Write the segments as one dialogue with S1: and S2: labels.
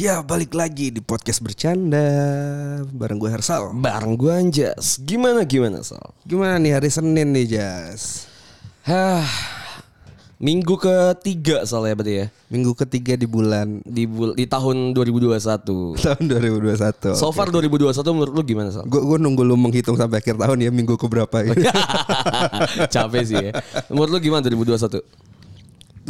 S1: Ya balik lagi di podcast bercanda bareng gue Hersal, bareng gue Anjas. Gimana gimana Sal? Gimana nih hari Senin nih Jas?
S2: Hah. Minggu ketiga soalnya berarti ya
S1: Minggu ketiga di bulan
S2: di bul- di tahun 2021.
S1: tahun 2021.
S2: So far 2021 menurut lu gimana Sal?
S1: gue gue nunggu lu menghitung sampai akhir tahun ya minggu keberapa
S2: Oh,
S1: ini.
S2: iya. Capek sih ya. Menurut lu gimana 2021?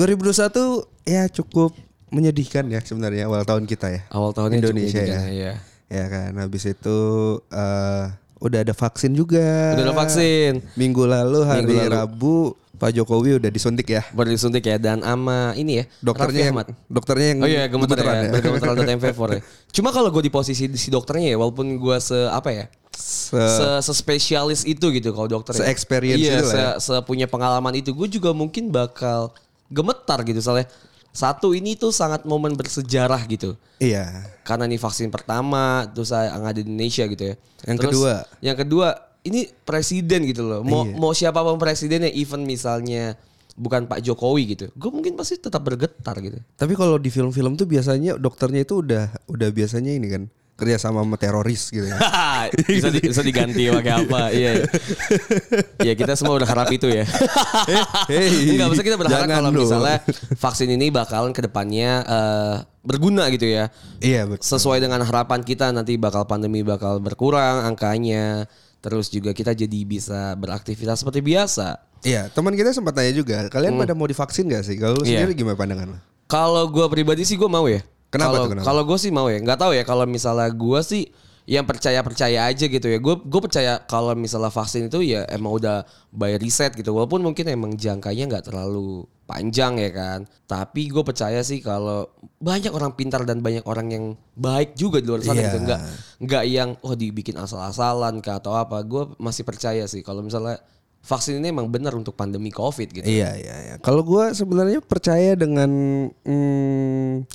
S1: 2021 ya cukup menyedihkan ya sebenarnya awal tahun kita ya.
S2: Awal tahunnya cukup
S1: Indonesia
S2: menyedihkan,
S1: ya.
S2: iya.
S1: Ya kan habis itu eh, udah ada vaksin juga.
S2: Udah ada vaksin.
S1: Minggu lalu hari
S2: Minggu lalu.
S1: Rabu Pak Jokowi udah disuntik ya.
S2: Baru disuntik ya dan ama ini ya. Raffi
S1: Dokternya yang
S2: Ahmad.
S1: dokternya yang
S2: Oh iya
S1: gemeteran
S2: gemeteran ya. Gemeteran dot MV4 ya. Cuma kalau gue di posisi si dokternya ya walaupun gue se apa ya?
S1: Se-
S2: Se, spesialis itu gitu kalau dokter ya.
S1: Se-experience
S2: iya,
S1: itu lah ya.
S2: se, punya pengalaman itu gue juga mungkin bakal gemetar gitu soalnya satu ini tuh sangat momen bersejarah gitu
S1: Iya.
S2: karena ini vaksin pertama terus saya nggak ada di Indonesia gitu ya.
S1: Yang
S2: Terus,
S1: kedua. Iya.
S2: yang kedua ini presiden gitu loh. Mau mau siapapun presidennya even misalnya bukan Pak Jokowi gitu. Gue mungkin pasti tetap bergetar gitu.
S1: Tapi kalau di film-film tuh biasanya dokternya itu udah udah biasanya ini kan kerja sama sama teroris gitu ya.
S2: bisa, di- bisa diganti pakai apa? Iya. iya. Ya kita semua berharap itu ya.
S1: hey,
S2: Enggak bisa kita
S1: Iya.
S2: berharap
S1: jangan
S2: kalau
S1: dong.
S2: misalnya vaksin ini bakalan kedepannya eh, berguna gitu ya.
S1: iya betul.
S2: sesuai dengan harapan kita nanti bakal pandemi bakal berkurang angkanya terus juga kita jadi bisa beraktivitas seperti biasa
S1: Iya, teman kita sempat tanya juga, kalian pada mau divaksin gak sih? Kalau lu
S2: Iya.
S1: sendiri gimana pandangan lu?
S2: kalau gua pribadi sih gua mau ya
S1: Kenapa
S2: kalau
S1: tuh, kenapa?
S2: kalau gue sih mau ya nggak tahu ya kalau misalnya gua sih yang percaya percaya aja gitu ya gue gue percaya kalau misalnya vaksin itu ya emang udah by riset gitu walaupun mungkin emang jangkanya nggak terlalu panjang ya kan tapi gue percaya sih kalau banyak orang pintar dan banyak orang yang baik juga di luar sana
S1: Iya.
S2: gitu nggak nggak yang oh dibikin asal-asalan ke atau apa gue masih percaya sih kalau misalnya vaksin ini emang benar untuk pandemi covid gitu
S1: Iya, iya, iya. Kalau gua sebenarnya percaya dengan hmm,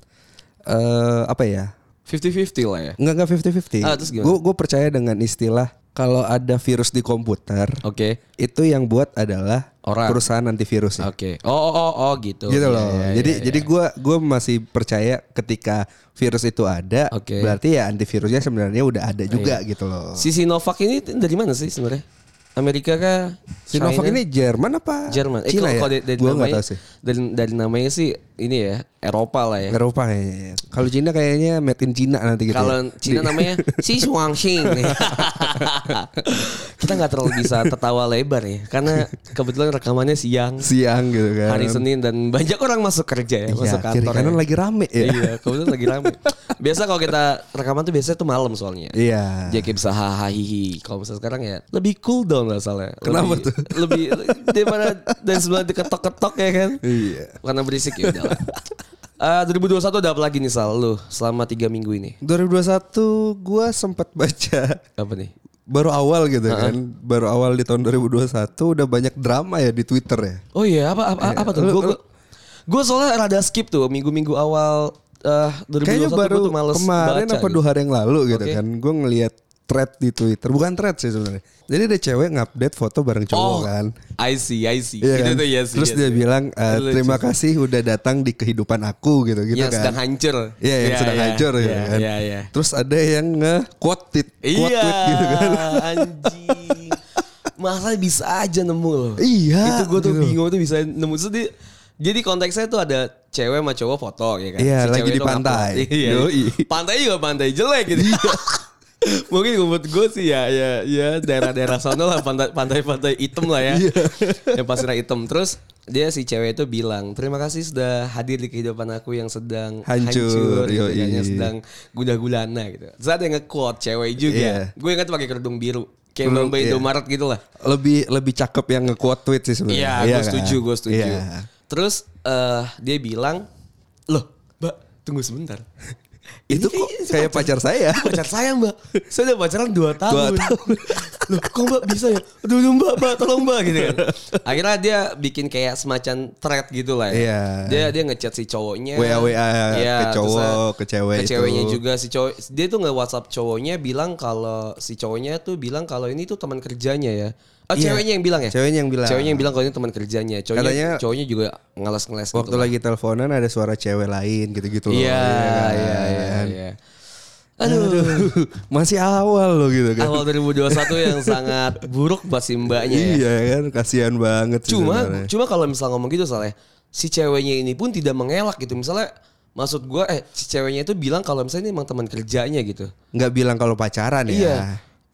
S1: eh, apa ya?
S2: 50-50 lah ya
S1: Enggak enggak 50-50.
S2: Ah, terus gimana?
S1: Gua gua percaya dengan istilah kalau ada virus di komputer,
S2: oke
S1: itu yang buat adalah
S2: Orang.
S1: perusahaan antivirus ya.
S2: Oke. Oh, oh, oh, oh, gitu.
S1: Gitu
S2: Ya,
S1: loh.
S2: ya,
S1: jadi
S2: ya, ya.
S1: jadi gua gua masih percaya ketika virus itu ada,
S2: Oke. Iya.
S1: berarti ya antivirusnya sebenarnya udah ada juga gitu loh.
S2: si Sinovac ini dari mana sih sebenarnya? Amerika kah?
S1: Sinovac
S2: China?
S1: ini Jerman apa?
S2: Jerman. Eh,
S1: Cina ya?
S2: kalau- kalau dari, dari
S1: Gua nggak
S2: namanya
S1: tahu sih.
S2: Dari, dari namanya sih ini ya Eropa lah ya.
S1: Eropa kayaknya. ya. Kalau Cina kayaknya made in Cina nanti gitu. ya.
S2: Kalau Cina namanya Si Shuangxing. Kita nggak terlalu bisa tertawa lebar ya, karena kebetulan rekamannya siang,
S1: siang gitu kan.
S2: hari Senin dan banyak orang masuk kerja ya,
S1: Iya,
S2: masuk
S1: kiri
S2: kantor.
S1: kanan
S2: ya.
S1: lagi rame ya.
S2: Iya, kebetulan lagi rame. Biasa kalau kita rekaman tuh biasanya tuh malam soalnya.
S1: Iya.
S2: Jadi kayak bisa hahaha. Kalau misalnya sekarang ya lebih cool down lah soalnya.
S1: Kenapa
S2: lebih,
S1: tuh?
S2: Lebih daripada dan sebelum diketok-ketok ya kan.
S1: Iya.
S2: Karena berisik ya udah. Eh 2021 ada apa lagi nih Sal lu selama 3 minggu ini?
S1: 2021 gua sempat baca
S2: Apa nih?
S1: baru awal gitu kan. Baru awal di tahun 2021 udah banyak drama ya di Twitter ya.
S2: Oh iya, apa apa, apa tuh?
S1: Lu-
S2: Gue gue soalnya rada skip tuh minggu-minggu awal eh 2021
S1: Kayaknya
S2: gua
S1: baru
S2: tuh males
S1: kemarin
S2: baca
S1: apa
S2: gitu.
S1: dua hari yang lalu gitu
S2: Oke.
S1: kan. Gue ngelihat thread di Twitter, bukan thread sih sebenarnya. Jadi ada cewek ngupdate foto bareng cowok
S2: Oh,
S1: kan.
S2: I see, I see.
S1: Iya
S2: Itu
S1: kan?
S2: tuh ya sih.
S1: Terus
S2: ya
S1: dia
S2: sih.
S1: bilang eh,
S2: Lucu.
S1: terima kasih udah datang di kehidupan aku gitu gitu
S2: yang
S1: kan.
S2: sedang hancur.
S1: Iya yang sedang hancur
S2: ya.
S1: gitu
S2: Iya,
S1: kan.
S2: iya, iya.
S1: Terus ada yang nge quote tweet, quote
S2: Iya,
S1: tweet gitu kan.
S2: anjing. Masa bisa aja nemu loh.
S1: Iya,
S2: Itu gue tuh
S1: gitu.
S2: bingung tuh bisa nemu. Terus dia- jadi konteksnya tuh ada cewek sama cowok foto ya kan.
S1: Iya, lagi
S2: cewek
S1: di
S2: itu ngupload.
S1: pantai.
S2: Iya.
S1: Yoi. Iya.
S2: Pantai juga pantai jelek gitu. Mungkin menurut gue sih ya ya ya daerah-daerah sana lah pantai- pantai-pantai hitam lah ya.
S1: Iya.
S2: yang pasirnya hitam. Terus dia si cewek itu bilang, "Terima kasih sudah hadir di kehidupan aku yang sedang
S1: Hancur,
S2: hancur gitu,
S1: yoi.
S2: kan, yang sedang gudah-gulana gitu." Terus ada yang nge-quote cewek juga.
S1: Iya.
S2: Gue ingat pakai kerudung biru. Kayak
S1: Kerudung,
S2: Mbak
S1: iya.
S2: Indomaret gitu lah.
S1: Lebih lebih cakep yang nge quote tweet sih sebenarnya.
S2: Iya, gue
S1: kan?
S2: setuju, gue setuju.
S1: Iya.
S2: Terus eh, dia bilang, loh, mbak, tunggu sebentar.
S1: Itu kok kayak pacar saya.
S2: pacar saya mbak saya udah pacaran 2 tahun
S1: Dua tahun.
S2: loh kok mbak bisa ya aduh aduh, mbak mbak tolong mbak gitu kan akhirnya dia bikin kayak semacam thread gitu lah ya
S1: Iya.
S2: dia dia ngechat si cowoknya
S1: WA WA
S2: Iya,
S1: ke cowok,
S2: terus,
S1: ke cewek
S2: ke ceweknya
S1: itu.
S2: juga si cowok dia tuh nge WhatsApp cowoknya bilang kalau si cowoknya tuh bilang kalau ini tuh teman kerjanya ya oh
S1: Iya.
S2: ceweknya yang bilang ya
S1: Ceweknya yang bilang.
S2: ceweknya yang bilang kalau ini teman kerjanya cowoknya
S1: Katanya-
S2: cowoknya juga ngeles-ngeles gitu
S1: Waktu lagi teleponan ada suara cewek lain gitu-gitu loh.
S2: Iya,
S1: kan?
S2: iya, iya, iya. Aduh,
S1: Aduh, masih awal loh gitu kan.
S2: awal 2021 yang sangat buruk buat si mbaknya ya.
S1: Iya kan, kasihan banget sih
S2: Cuma,
S1: sebenarnya.
S2: cuma kalau misal ngomong gitu soalnya si ceweknya ini pun tidak mengelak gitu. Misalnya maksud gua eh si ceweknya itu bilang kalau misalnya ini emang teman kerjanya gitu.
S1: nggak bilang kalau pacaran ya.
S2: Iya.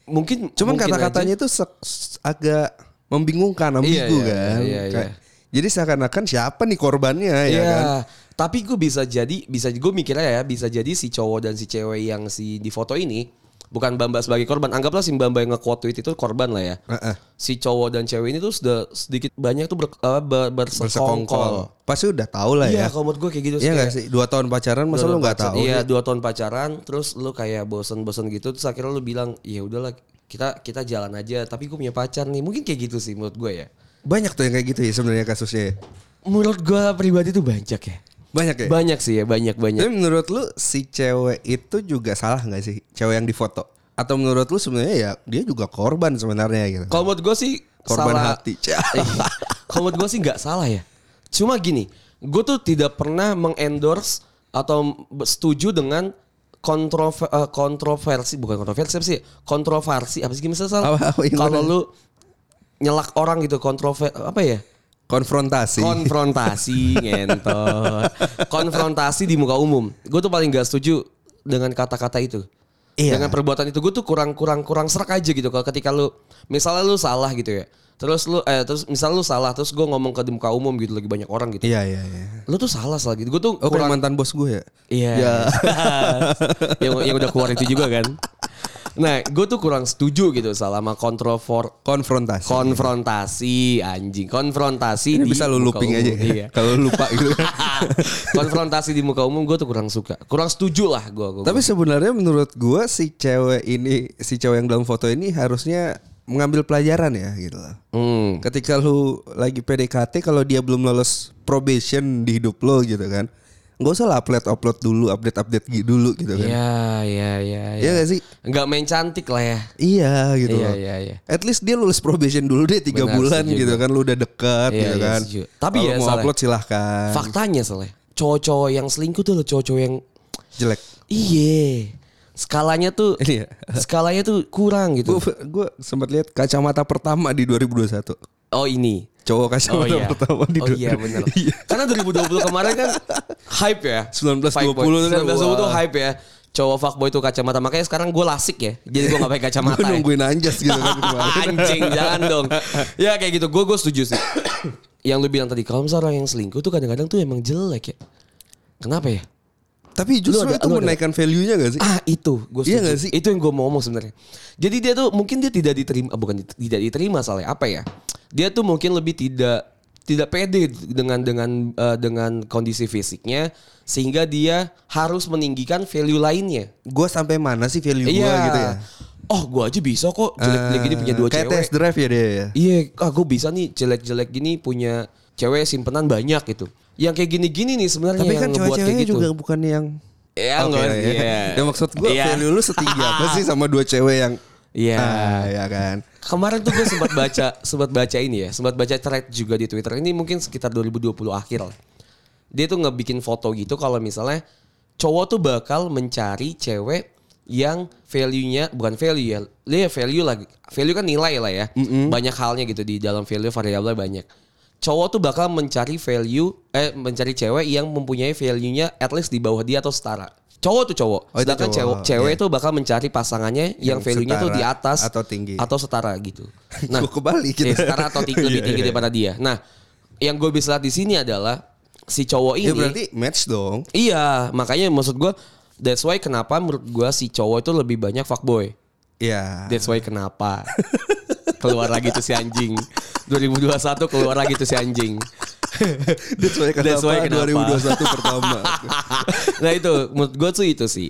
S2: Mungkin
S1: Cuman
S2: mungkin
S1: kata-katanya itu se- s- agak membingungkan, ambigu
S2: Iya, iya,
S1: kan.
S2: iya, iya.
S1: Kayak- jadi seakan-akan siapa nih korbannya
S2: aja-
S1: ya
S2: Iya.
S1: kan?
S2: Tapi gue bisa jadi bisa gue mikirnya ya bisa jadi si cowok dan si cewek yang si di foto ini bukan Bamba sebagai korban. Anggaplah si Bamba yang nge-quote tweet itu korban lah ya.
S1: Heeh.
S2: si cowok dan cewek ini tuh sudah sedikit banyak tuh ber, eh, ber- bersekongkol.
S1: Bersekongkol. Pasti udah tahu lah ya.
S2: Iya, kalau menurut gue kayak gitu.
S1: Iya
S2: kayak
S1: nggak sih? Dua tahun pacaran masa
S2: dua
S1: lu
S2: tahun
S1: nggak
S2: pacar-
S1: tahu? gitu?
S2: Iya, dua tahun pacaran, terus lu kayak bosen-bosen gitu, terus akhirnya lu bilang, ya udahlah kita kita jalan aja. Tapi gue punya pacar nih, mungkin kayak gitu sih menurut gue ya.
S1: Banyak tuh yang kayak gitu ya sebenarnya kasusnya. ya?
S2: Menurut gue pribadi tuh banyak ya.
S1: Banyak ya.
S2: Banyak sih ya, banyak banyak.
S1: Tapi menurut lu si cewek itu juga salah nggak sih? Cewek yang difoto? Atau menurut lu sebenarnya ya dia juga korban sebenarnya gitu?
S2: Kalau menurut gue sih
S1: Korban
S2: salah-
S1: hati.
S2: Eh, Kalau menurut gue sih nggak salah ya. Cuma gini, gue tuh tidak pernah mengendorse atau setuju dengan kontrover- eh, kontroversi bukan kontroversi apa sih kontroversi apa sih gimana sih, Sal?
S1: Apa- apa yang
S2: kalau
S1: mana?
S2: lu nyelak orang gitu kontrover apa ya
S1: Konfrontasi.
S2: Iya. konfrontasi ngentot konfrontasi di muka umum gue tuh paling gak setuju dengan kata-kata itu
S1: Iya.
S2: dengan perbuatan itu gue tuh kurang kurang kurang serak aja gitu kalau ketika lu misalnya lu salah gitu ya terus lu eh terus misalnya lu salah terus gue ngomong ke di muka umum gitu lagi banyak orang gitu
S1: Iya iya iya.
S2: lu tuh salah salah gitu gue tuh
S1: Oh kayak
S2: kurang
S1: mantan bos gue ya?
S2: Iya. yang yang udah keluar itu juga kan nah gue tuh kurang setuju gitu salah sama kontrover
S1: Konfrontasi.
S2: konfrontasi anjing konfrontasi
S1: Ini
S2: di
S1: bisa lu
S2: muka
S1: looping aja
S2: umum.
S1: ya?
S2: iya.
S1: Kalau lu lupa gitu kan.
S2: konfrontasi di muka umum gue tuh kurang suka kurang setuju lah gue
S1: Tapi sebenarnya menurut gua si cewek ini, si cewek yang dalam foto ini harusnya mengambil pelajaran ya gitu loh.
S2: hmm.
S1: Ketika lu lagi PDKT kalau dia belum lolos probation di hidup lo gitu kan. Nggak usah lah upload upload dulu, update update dulu gitu kan.
S2: ya ya ya
S1: Iya nggak sih?
S2: nggak main cantik lah ya
S1: Iya gitu
S2: Iya,
S1: loh.
S2: iya, iya.
S1: At least dia lulus probation dulu deh tiga
S2: Benar,
S1: bulan
S2: setuju
S1: gitu
S2: gue.
S1: kan lu udah dekat
S2: Iya,
S1: gitu
S2: iya,
S1: kan.
S2: setuju. Tapi
S1: Kalau
S2: ya,
S1: mau
S2: Saleh.
S1: upload silahkan.
S2: iya. faktanya soalnya cowok-cowok yang selingkuh tuh loh cowok-cowok yang
S1: Jelek.
S2: iye skalanya tuh
S1: Iya.
S2: skalanya tuh kurang gitu
S1: Gue gue sempat lihat kacamata pertama di 2021.
S2: oh ini
S1: Cowok kacamata
S2: Oh iya.
S1: pertama di
S2: oh
S1: dua-
S2: iya benar.
S1: Iya.
S2: Karena 2020 kemarin kan hype ya.
S1: 1920 tuh
S2: 1920
S1: kan,
S2: tuh
S1: wah.
S2: hype ya. Cowok fuckboy itu kacamata. Makanya sekarang gue lasik ya. Jadi gue gak pakai kacamata.
S1: Gue
S2: ya.
S1: nungguin anjas gitu kan kemarin.
S2: Anjing jangan dong. Ya kayak gitu. Gue gue setuju sih. yang lu bilang tadi kalau misalnya orang yang selingkuh tuh kadang-kadang tuh emang jelek ya. Kenapa ya?
S1: Tapi justru
S2: ada-
S1: itu
S2: lu ada-
S1: menaikkan value-nya gak sih?
S2: Ah itu gue
S1: Iya
S2: setuju.
S1: nggak sih?
S2: Itu yang gue mau ngomong sebenarnya. Jadi dia tuh mungkin dia tidak diterima ah, bukan dit- tidak diterima salah apa ya? Dia tuh mungkin lebih tidak tidak pede dengan dengan eh, dengan kondisi fisiknya sehingga dia harus meninggikan value lainnya.
S1: Gue sampai mana sih value gue
S2: Iya.
S1: gitu ya?
S2: Oh gue aja bisa kok jelek-jelek gini punya dua
S1: Eh, Kayak
S2: cewek.
S1: test drive ya dia ya?
S2: Iya, ah gue bisa nih jelek-jelek gini punya cewek simpenan banyak gitu. Yang kayak gini-gini nih sebenarnya
S1: Tapi
S2: yang
S1: kan
S2: ngebuat kayak
S1: cewek-ceweknya
S2: gitu.
S1: juga bukan yang
S2: Ya, nggak-
S1: Oke, ya.
S2: iya.
S1: Ya, maksud gue
S2: Iya.
S1: value lu setinggi apa sih sama dua cewek yang
S2: Iya.
S1: Ah, ya kan.
S2: Kemarin tuh gue sempat baca sempat baca ini ya, sempat baca thread juga di Twitter. Ini mungkin sekitar 2020 akhir lah. Dia tuh ngebikin foto gitu kalau misalnya cowok tuh bakal mencari cewek yang value-nya bukan value ya. Dia value lagi. Value kan nilai lah ya. Banyak halnya gitu di dalam value variabelnya banyak. Cowok tuh bakal mencari value eh mencari cewek yang mempunyai value-nya at least di bawah dia atau setara. Cowok tuh cowok.
S1: Oh, itu
S2: Sedangkan
S1: cowok.
S2: cewek cewek tuh bakal mencari pasangannya yang,
S1: Yang
S2: value-nya tuh
S1: setara
S2: di atas
S1: atau tinggi.
S2: atau setara gitu.
S1: Nah, gue kebalik gitu.
S2: eh, setara atau tinggi lebih
S1: Iya,
S2: tinggi
S1: iya.
S2: daripada dia. Nah, yang gue bisa lihat di sini adalah si cowok ini.
S1: Ya berarti match dong.
S2: Iya, makanya maksud gue that's why kenapa menurut gue si cowok itu lebih banyak fuckboy.
S1: Ya.
S2: That's why kenapa keluar lagi tuh si anjing. 2021 keluar lagi tuh si anjing.
S1: That's why kenapa,
S2: That's why kenapa.
S1: 2021 pertama.
S2: nah itu menurut gue tuh itu sih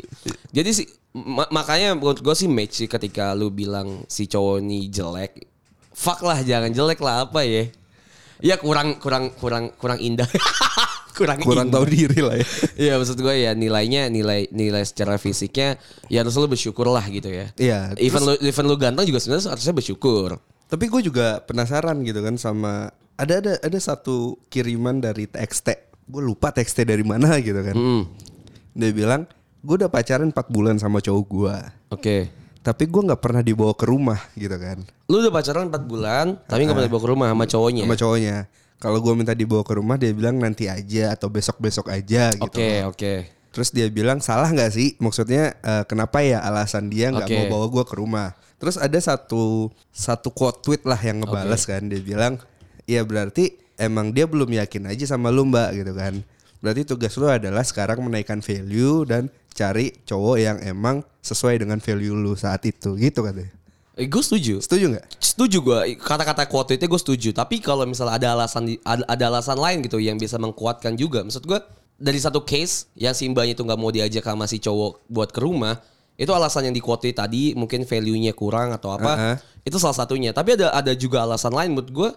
S2: jadi sih ma- makanya menurut gue sih match sih ketika lu bilang si cowok ini jelek fuck lah jangan jelek lah apa ya ya kurang kurang kurang kurang indah kurang
S1: Kurang
S2: indah.
S1: tahu diri lah ya.
S2: Iya maksud gue ya nilainya nilai nilai secara fisiknya ya harus lu bersyukur lah gitu ya.
S1: Iya,
S2: Even lu even lu ganteng juga sebenarnya harusnya bersyukur.
S1: Tapi gue juga penasaran gitu kan sama ada ada ada satu kiriman dari TXT. Gue lupa TXT dari mana gitu kan.
S2: Mm.
S1: Dia bilang, gue udah pacaran 4 bulan sama cowok gue.
S2: Oke.
S1: Tapi gue nggak pernah dibawa ke rumah gitu kan.
S2: Lu udah pacaran 4 bulan tapi nggak pernah dibawa ke rumah sama cowoknya.
S1: Eh. Sama cowoknya. Kalau gue minta dibawa ke rumah dia bilang nanti aja atau besok-besok aja gitu.
S2: Oke oke.
S1: Terus dia bilang salah nggak sih? Maksudnya eh, kenapa ya alasan dia nggak
S2: Oke.
S1: mau bawa gue ke rumah? Terus ada satu satu quote tweet lah yang ngebales kan dia bilang, ya berarti emang dia belum yakin aja sama lu mbak gitu kan? Berarti tugas lu adalah sekarang menaikkan value dan cari cowok yang emang sesuai dengan value lu saat itu gitu katanya.
S2: Eh, gue setuju.
S1: Setuju nggak?
S2: setuju gue kata-kata quote itu gue setuju tapi kalau misalnya ada alasan di- ada, ada alasan lain gitu yang bisa mengkuatkan juga maksud gue dari satu case yang si mbaknya itu nggak mau diajak sama si cowok buat ke rumah itu alasan yang di quote tadi mungkin value-nya kurang atau apa
S1: Uh-uh.
S2: itu salah satunya tapi ada ada juga alasan lain menurut gue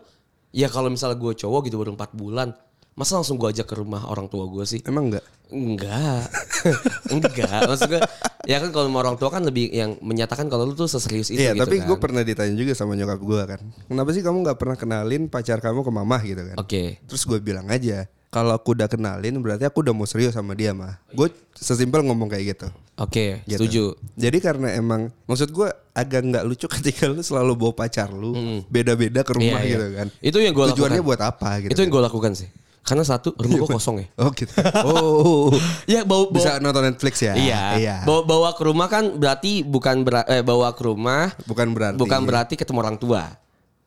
S2: ya kalau misalnya gue cowok gitu baru empat bulan masa langsung gue ajak ke rumah orang tua gue sih
S1: Emang nggak?
S2: Enggak. Enggak. Maksud gue ya kan kalau sama orang tua kan lebih yang menyatakan kalau lu tuh seserius itu
S1: Iya,
S2: gitu
S1: tapi
S2: kan.
S1: gue pernah ditanya juga sama nyokap gue kan, kenapa sih kamu nggak pernah kenalin pacar kamu ke mamah gitu kan?
S2: Oke.
S1: Terus gue bilang aja, kalau aku udah kenalin berarti aku udah mau serius sama dia mah. Gue sesimpel ngomong kayak gitu.
S2: Oke,
S1: Gitu.
S2: setuju.
S1: Jadi karena emang maksud gue agak nggak lucu ketika lu selalu bawa pacar lu beda-beda ke rumah
S2: Iya, iya.
S1: gitu kan.
S2: Itu yang gua
S1: Tujuannya
S2: lakukan.
S1: buat apa gitu?
S2: Itu yang gue lakukan sih. Karena satu rumah gue kosong ya.
S1: Oh gitu. Oh,
S2: Ya bawa, bawa
S1: bisa nonton Netflix ya?
S2: iya.
S1: Iya.
S2: Bawa, bawa ke rumah kan berarti bukan bera- eh, bawa ke rumah
S1: Bukan berarti.
S2: bukan berarti ketemu orang tua.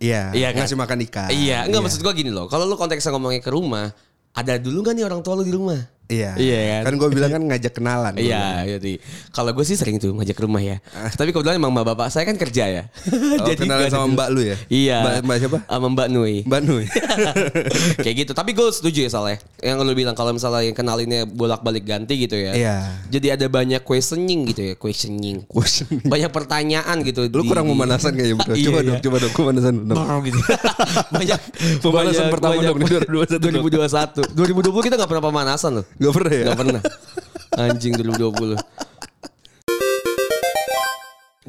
S1: Iya.
S2: Iya kan?
S1: Ngasih makan ikan.
S2: iya, enggak maksud gue gini loh. Kalau lu konteksnya ngomongnya ke rumah, ada dulu gak nih orang tua lu di rumah?
S1: Iya.
S2: Iya kan?
S1: Kan gue bilang kan ngajak kenalan. dulu. Ah.
S2: Iya, jadi kalau gue sih sering tuh ngajak ke rumah ya. Tapi kebetulan emang mbak bapak saya kan kerja ya.
S1: Oh, kenalan
S2: nggak ada
S1: sama
S2: dulu.
S1: Mbak lu ya?
S2: Iya.
S1: Mbak, mbak siapa?
S2: Sama Mbak Nui.
S1: Mbak Nui.
S2: Kayak gitu. Tapi gue setuju ya soalnya. Yang lu bilang kalau misalnya yang kenalinnya bolak-balik ganti gitu ya.
S1: Iya.
S2: Jadi ada banyak questioning gitu ya, questioning. Banyak pertanyaan gitu.
S1: Lu kurang pemanasan kayaknya bro. Coba
S2: Iya,
S1: dong,
S2: iya.
S1: coba dong pemanasan dong.
S2: gitu. banyak
S1: Pemanasan pertama dong di
S2: 2021. 2021. 2020 kita nggak pernah pemanasan loh.
S1: Gak pernah ya?
S2: Nggak pernah. Anjing 2020.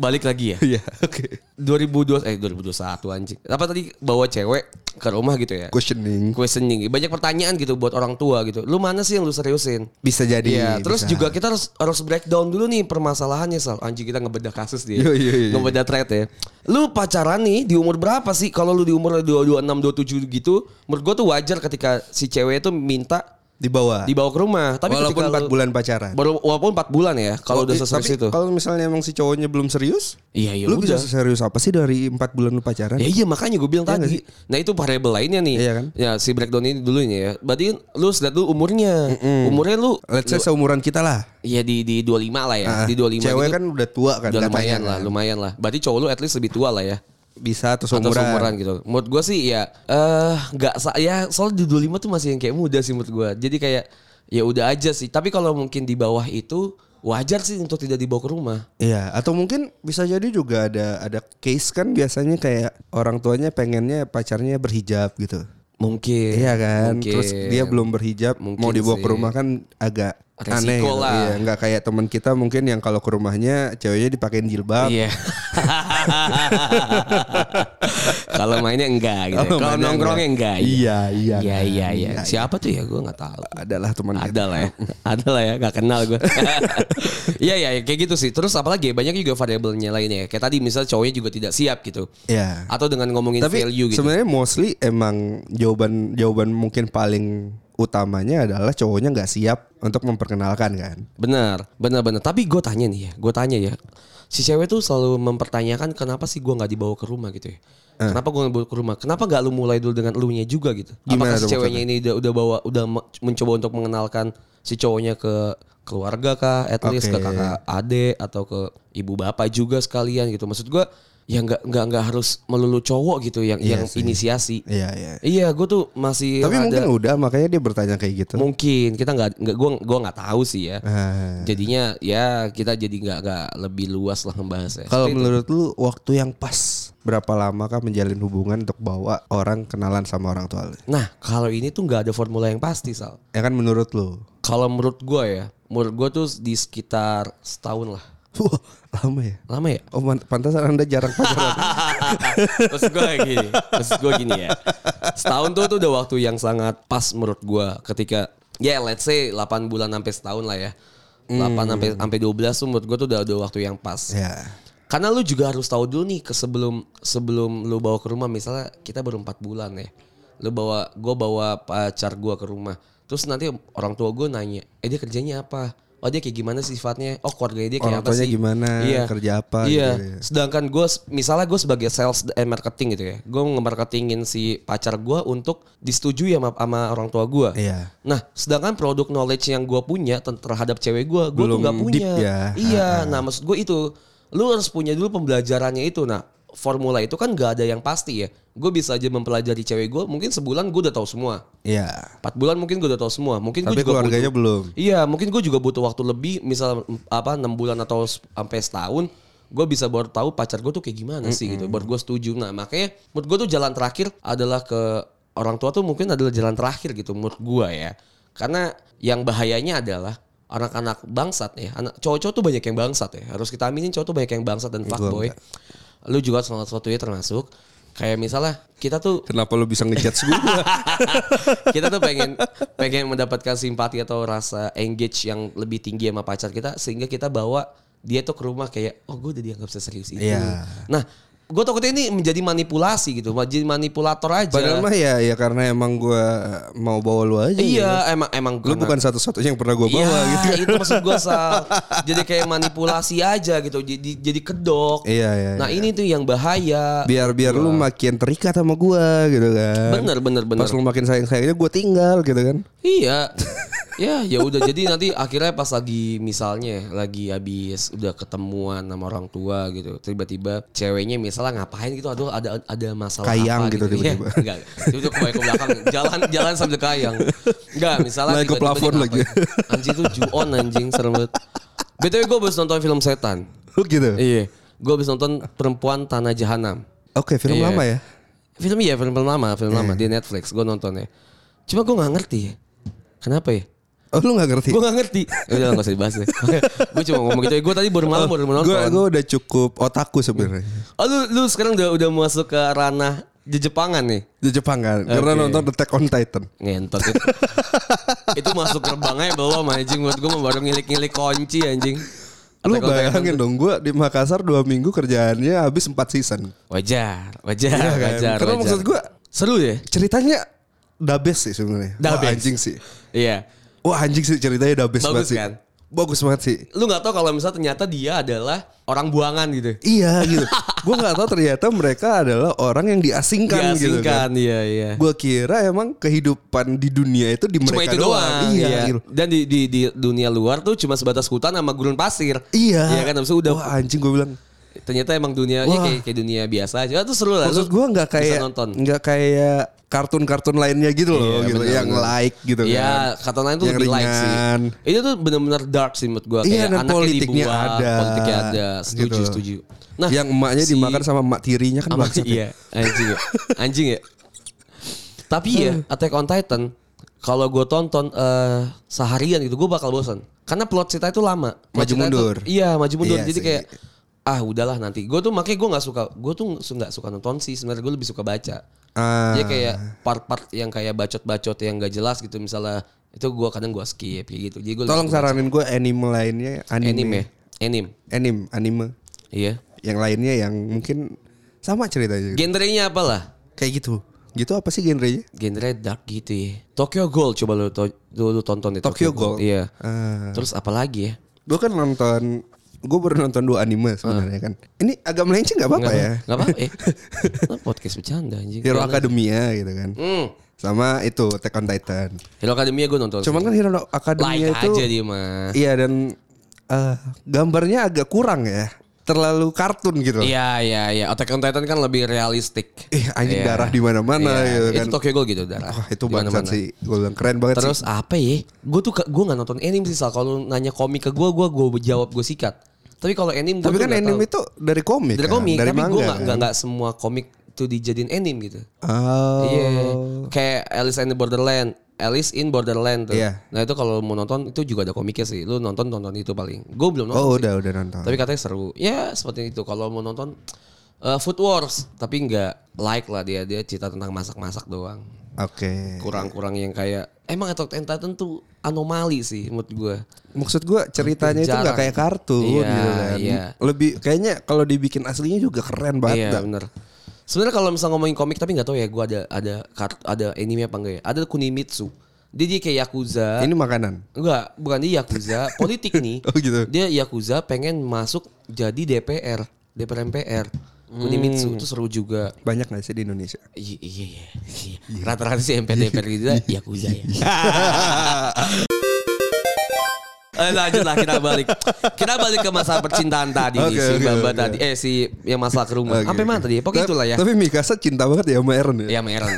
S2: Balik lagi ya.
S1: Iya, oke.
S2: 2002 eh 2021 anjing. Apa tadi bawa cewek ke rumah gitu ya?
S1: Questioning.
S2: Questioning. Banyak pertanyaan gitu buat orang tua gitu. Lu mana sih yang lu seriusin?
S1: Bisa jadi.
S2: Iya, terus
S1: bisa.
S2: juga kita harus harus breakdown dulu nih permasalahannya Sal. Anjing kita ngebedah kasus dia.
S1: Yo, yo, yo.
S2: Ngebedah thread ya. Lu pacaran nih di umur berapa sih? Kalau lu di umur 26 27 gitu, menurut gua tuh wajar ketika si cewek itu minta
S1: di bawah.
S2: dibawa ke rumah. Tapi
S1: Walaupun 4
S2: ketika lu-
S1: bulan pacaran.
S2: Baru walaupun 4 bulan ya kalau udah
S1: Tapi
S2: seserius itu.
S1: Kalau misalnya emang si cowoknya belum serius,
S2: Iya, iya
S1: lu bisa
S2: udah.
S1: serius apa sih dari 4 bulan lu pacaran?
S2: Ya iya makanya gue bilang
S1: nggak
S2: tadi. Nah itu variabel lainnya nih.
S1: Iya kan?
S2: Ya si breakdown ini dulunya ya. Berarti lu sudah dulu umurnya. Umurnya lu
S1: Let's say seumuran kita lah.
S2: ya di di 25 lah ya.
S1: Ah,
S2: di 25
S1: Cewek
S2: gitu
S1: kan udah tua kan
S2: udah
S1: katanya
S2: lumayan
S1: kan.
S2: lah, lumayan lah. Berarti cowok lu at least lebih tua lah ya.
S1: Bisa atau
S2: Atau
S1: seumuran.
S2: seumuran gitu. Menurut gue sih ya eh nggak sa ya soalnya di 25 tuh masih yang kayak muda sih menurut gue. Jadi kayak ya udah aja sih. Tapi kalau mungkin di bawah itu wajar sih untuk tidak dibawa ke rumah.
S1: Iya, atau mungkin bisa jadi juga ada ada case kan biasanya kayak orang tuanya pengennya pacarnya berhijab gitu.
S2: Mungkin.
S1: Iya kan,
S2: Mungkin.
S1: terus dia belum berhijab,
S2: Mungkin
S1: mau dibawa ke
S2: sih.
S1: rumah kan agak
S2: Resiko
S1: aneh. gitu.
S2: lah.
S1: Iya, nggak kayak teman kita mungkin yang kalau ke rumahnya ceweknya dipakein jilbab.
S2: Iya. Kalau mainnya enggak gitu.
S1: Kalau
S2: Kalau
S1: Oh, mainnya
S2: nongkrongnya
S1: enggak.
S2: enggak.
S1: Iya, iya.
S2: Iya, iya, iya.
S1: Iya,
S2: Siapa tuh ya? Gue nggak tahu.
S1: Adalah teman kita.
S2: Ada lah ya. Ada lah ya, nggak kenal gue. Iya, iya, kayak gitu sih. Terus apalagi ya, banyak juga variabelnya lainnya ya. Kayak tadi misalnya cowoknya juga tidak siap gitu.
S1: Iya.
S2: Atau dengan ngomongin
S1: Tapi
S2: value gitu.
S1: sebenarnya mostly emang jawaban jawaban mungkin paling utamanya adalah cowoknya nggak siap untuk memperkenalkan kan.
S2: Benar, benar, benar. Tapi gue tanya nih ya, gue tanya ya. Si cewek tuh selalu mempertanyakan kenapa sih gue nggak dibawa ke rumah gitu ya.
S1: Eh.
S2: Kenapa gue dibawa ke rumah? Kenapa nggak lu mulai dulu dengan elunya juga gitu?
S1: Gimana
S2: Apakah si
S1: tuh
S2: ceweknya ini udah, udah bawa, udah me- mencoba untuk mengenalkan si cowoknya ke keluarga kah, at least ke
S1: Oke.
S2: kakak ade atau ke ibu bapak juga sekalian gitu. Maksud gue, ya nggak nggak nggak harus melulu cowok gitu yang
S1: Iya
S2: yang
S1: sih.
S2: inisiasi.
S1: Iya, iya.
S2: Iya, gue tuh masih
S1: Tapi
S2: ada-
S1: mungkin udah makanya dia bertanya kayak gitu.
S2: mungkin kita nggak nggak gue gue nggak tahu sih ya.
S1: Ah.
S2: Jadinya ya kita jadi nggak nggak lebih luas lah ngebahasnya.
S1: Kalau
S2: Seperti itu.
S1: menurut lu waktu yang pas berapa lama kah menjalin hubungan untuk bawa orang kenalan sama orang tua lu?
S2: nah kalau ini tuh nggak ada formula yang pasti sal.
S1: Ya kan menurut lu.
S2: Kalau menurut gue ya, menurut gue tuh di sekitar setahun lah.
S1: Wah, lama ya.
S2: Lama ya?
S1: Oh, man- pantasan Anda jarang pacaran.
S2: Terus gue gini, terus gue gini ya. Setahun tuh tuh udah waktu yang sangat pas menurut gue ketika ya let's say 8 bulan sampai setahun lah ya. 8 sampai sampai 12 tuh menurut gue tuh udah udah waktu yang pas.
S1: Hmm. ya.
S2: Karena lu juga harus tahu dulu nih ke sebelum sebelum lu bawa ke rumah misalnya kita baru empat bulan ya. Lu bawa gue bawa pacar gue ke rumah. Terus nanti orang tua gue nanya, "Eh dia kerjanya apa?" Oh dia kayak gimana sifatnya? Oh keluarganya dia kayak
S1: Orang
S2: apa
S1: tuanya
S2: sih?
S1: gimana, kerja apa
S2: Iya.
S1: gitu ya.
S2: Sedangkan gue misalnya gue sebagai sales and marketing gitu ya. Gue nge-marketingin si pacar gue untuk disetujui sama, sama orang tua gue.
S1: Iya.
S2: Nah, sedangkan produk knowledge yang gue punya ten- terhadap cewek gue, gue tuh
S1: Belum
S2: nggak
S1: deep
S2: punya.
S1: ya.
S2: Iya, nah maksud gue itu, lu harus punya dulu pembelajarannya itu. Nah, formula itu kan nggak ada yang pasti ya. Gue bisa aja mempelajari cewek gue, mungkin sebulan gue udah tahu semua.
S1: Iya.
S2: Empat bulan mungkin gue udah tahu semua. Mungkin gue
S1: Tapi
S2: juga
S1: keluarganya belum.
S2: butuh- Iya, mungkin gue juga butuh waktu lebih, misal mm, apa enam bulan atau s- sampai setahun, gue bisa baru tahu pacar gue tuh kayak gimana sih gitu. Baru gue setuju. Nah makanya menurut gue tuh jalan terakhir adalah ke orang tua tuh mungkin adalah jalan terakhir gitu menurut gue ya. Karena yang bahayanya adalah anak-anak bangsat ya, anak cowok-cowok tuh banyak yang bangsat ya. Harus kita aminin cowok tuh banyak yang bangsat dan fuckboy. Lu juga salah satunya termasuk kayak misalnya kita tuh
S1: Kenapa lu bisa ngejudge gue?
S2: kita tuh pengen pengen mendapatkan simpati atau rasa engage yang lebih tinggi sama pacar kita sehingga kita bawa dia tuh ke rumah kayak oh gue udah dianggap serius itu.
S1: Iya.
S2: Nah, gue takutnya ini menjadi manipulasi gitu, jadi manipulator aja.
S1: Padahal mah ya ya karena emang gua mau bawa lu aja. ya.
S2: iya, emang emang
S1: Lu
S2: karena-
S1: bukan satu-satunya yang pernah gua bawa
S2: Iya,
S1: gitu.
S2: itu maksud gue sal. jadi kayak manipulasi aja gitu, jadi jadi kedok.
S1: Iya, iya.
S2: nah ini tuh yang bahaya.
S1: biar biar lu makin terikat sama gua gitu kan.
S2: Bener bener bener.
S1: Pas lu makin sayang sayangnya gua tinggal gitu kan.
S2: Iya. ya, ya udah jadi nanti akhirnya pas lagi misalnya lagi habis udah ketemuan sama orang tua gitu. Tiba-tiba ceweknya misalnya ngapain gitu aduh ada ada masalah
S1: Kayang
S2: apa
S1: gitu tiba-tiba.
S2: Ya, enggak. Tiba-tiba kebalik ke belakang jalan jalan sambil kayang. Enggak, misalnya
S1: Naik ke
S2: tiba-tiba
S1: plafon
S2: dia
S1: lagi.
S2: ngapain. Anjing tuh juon anjing serem banget. BTW gue habis nonton film setan.
S1: Lu gitu.
S2: Iya. Gue habis nonton Perempuan Tanah Jahanam.
S1: Oke, film
S2: Iya.
S1: lama ya.
S2: Film iya film, film lama, film lama di Netflix gue nontonnya. Cuma gue nggak ngerti ya. Kenapa ya?
S1: Oh, lu gak ngerti.
S2: Gue gak ngerti. Ya Udah gak usah dibahas deh. gue cuma ngomong gitu. Gue tadi baru malam baru menonton.
S1: Gue gue udah cukup otaku sebenarnya.
S2: Oh lu, lu sekarang udah udah masuk ke ranah di Jepangan nih.
S1: Di Jepang kan, karena nonton Attack on Titan.
S2: Ngentot itu. itu masuk gerbangnya belum anjing. Buat gue baru ngilik-ngilik kunci anjing.
S1: Lu
S2: Attack on Titan
S1: bayangin
S2: tuh.
S1: dong, gue di Makassar dua minggu kerjaannya habis 4 season.
S2: Wajar,
S1: Iya
S2: wajar,
S1: kan?
S2: Ah, wajar.
S1: Karena
S2: wajar.
S1: maksud gua-
S2: seru ya.
S1: Ceritanya the best sih sebenarnya.
S2: The
S1: Wah
S2: best.
S1: anjing sih.
S2: Iya.
S1: Wah anjing sih ceritanya the best
S2: Bagus
S1: banget sih.
S2: kan?
S1: Bagus banget sih.
S2: Lu nggak tahu kalau misalnya ternyata dia adalah orang buangan gitu.
S1: Iya gitu. gue nggak tahu ternyata mereka adalah orang yang diasingkan, gitu kan.
S2: Diasingkan, iya iya.
S1: Gue kira emang kehidupan di dunia itu di
S2: cuma
S1: mereka
S2: itu doang.
S1: Iya, gitu.
S2: Dan di, di di dunia luar tuh cuma sebatas hutan sama gurun pasir.
S1: Iya.
S2: Iya kan habis itu udah
S1: Wah anjing gue bilang.
S2: ternyata emang dunia ya
S1: Wah.
S2: kayak, kayak dunia biasa aja. Itu seru lah.
S1: Maksud
S2: lu
S1: gue nggak kayak
S2: bisa nonton.
S1: nggak kayak kartun-kartun lainnya gitu loh,
S2: Iya,
S1: gitu
S2: bener,
S1: yang
S2: bener.
S1: like gitu
S2: Iya,
S1: kan.
S2: kata lain tuh
S1: Yang
S2: lebih like sih.
S1: ringan.
S2: Itu tuh benar-benar dark sih menurut gua
S1: Iya,
S2: kayak
S1: dan
S2: anaknya
S1: politiknya
S2: dibuang,
S1: ada.
S2: politiknya ada. Setuju,
S1: Gitu.
S2: setuju.
S1: yang emaknya
S2: Nah, si-
S1: dimakan sama emak tirinya kan
S2: sama
S1: bangsat ya.
S2: iya, anjing ya. Anjing ya. Tapi ya
S1: Hmm.
S2: Attack on Titan kalau gue tonton eh, seharian gitu gue bakal bosan karena plot cerita itu lama. Plot
S1: Maju
S2: cerita itu-
S1: mundur.
S2: iya maju mundur.
S1: Iya
S2: Jadi
S1: sih.
S2: kayak ah udahlah nanti. Gue tuh makanya gue nggak suka. Gue tuh nggak suka nonton sih. Sebenarnya gue lebih suka baca.
S1: Ah.
S2: Dia Iya, kayak part-part yang kayak bacot-bacot yang gak jelas gitu misalnya itu gue kadang gue skip kayak gitu. Jadi gue
S1: Tolong saranin gue anime lainnya anime.
S2: anime, ya? anime,
S1: Anime, anime.
S2: iya.
S1: Yang lainnya yang mungkin sama ceritanya.
S2: Genrenya apalah?
S1: kayak gitu. Gitu apa sih genrenya?
S2: genre dark gitu ya. Tokyo Ghoul coba lu, to- lu, lu tonton deh
S1: Tokyo Ghoul?
S2: Iya.
S1: Ah.
S2: Terus apa lagi ya?
S1: Gue kan nonton Gue baru nonton dua anime sebenarnya
S2: Ah.
S1: kan. Ini agak melenceng gak apa-apa ya.
S2: Enggak apa eh. Lu podcast bercanda anjing.
S1: Hero
S2: Jangan.
S1: Academia gitu kan.
S2: Hmm.
S1: Sama itu Attack on Titan.
S2: Hero Academia gue nonton.
S1: Cuman kan Hero Academia
S2: like
S1: itu
S2: aja dia mah.
S1: Iya dan eh, gambarnya agak kurang ya. terlalu kartun gitu. loh.
S2: Iya iya iya. Attack on Titan kan lebih realistik.
S1: Ih, anjing
S2: Iya.
S1: darah di mana-mana
S2: Iya,
S1: gitu kan.
S2: Itu Tokyo Ghoul gitu darah.
S1: Wah, itu
S2: Di
S1: bangsat
S2: mana-mana.
S1: sih. Gue bilang keren banget
S2: Terus
S1: sih.
S2: apa ya? Gue tuh gue nggak nonton anime sih Sal. Kalau lu nanya komik ke gue, gue gue jawab gue sikat. Tapi kalau anime, gua
S1: Tapi
S2: tuh
S1: kan
S2: nggak
S1: anime
S2: tahu.
S1: itu dari komik.
S2: dari
S1: kan,
S2: komik,
S1: dari
S2: tapi
S1: manga.
S2: gue nggak
S1: kan.
S2: nggak nggak semua komik tuh dijadiin anime gitu.
S1: Oh.
S2: Iya, kayak Alice in the Borderland, Alice in Borderland tuh.
S1: Iya.
S2: Nah itu kalau mau nonton itu juga ada komiknya sih. Lu nonton nonton itu paling. Gue belum nonton.
S1: Oh
S2: sih.
S1: udah udah nonton.
S2: Tapi katanya seru. Ya seperti itu. Kalau mau nonton eh, Food Wars, tapi nggak like lah dia dia cerita tentang masak-masak doang.
S1: Oke.
S2: Kurang-kurang yang kayak emang Attack on Titan tuh anomali sih menurut gue.
S1: Maksud gue ceritanya itu nggak
S2: Jarang.
S1: kayak kartun
S2: Iya,
S1: gitu kan.
S2: iya.
S1: Lebih kayaknya kalau dibikin aslinya juga keren banget.
S2: Iya
S1: dah.
S2: bener. Sebenarnya kalau misalnya ngomongin komik tapi nggak tahu ya gue ada ada kart- ada anime apa enggak ya. Ada Kunimitsu. Dia dia kayak yakuza.
S1: Ini makanan.
S2: Enggak, bukan dia Yakuza, politik nih.
S1: Oh, gitu.
S2: Dia Yakuza pengen masuk jadi DPR, DPR MPR.
S1: Hmm.
S2: Kunimitsu itu seru juga.
S1: Banyak gak sih di Indonesia?
S2: Iya, iya, iya. iya. Rata-rata sih MP DPR gitu
S1: Iya.
S2: Yakuza ya. Eh, lanjut lah kita balik. Kita balik ke masalah percintaan tadi nih,
S1: Oke,
S2: si
S1: oke,
S2: Bamba
S1: oke.
S2: tadi. Eh si yang masalah ke rumah.
S1: Oke,
S2: Sampai mana
S1: oke.
S2: tadi? ya? Pokoknya
S1: Ta-
S2: itulah ya.
S1: Tapi Mikasa cinta banget ya sama Eren ya.
S2: Ya sama Aaron.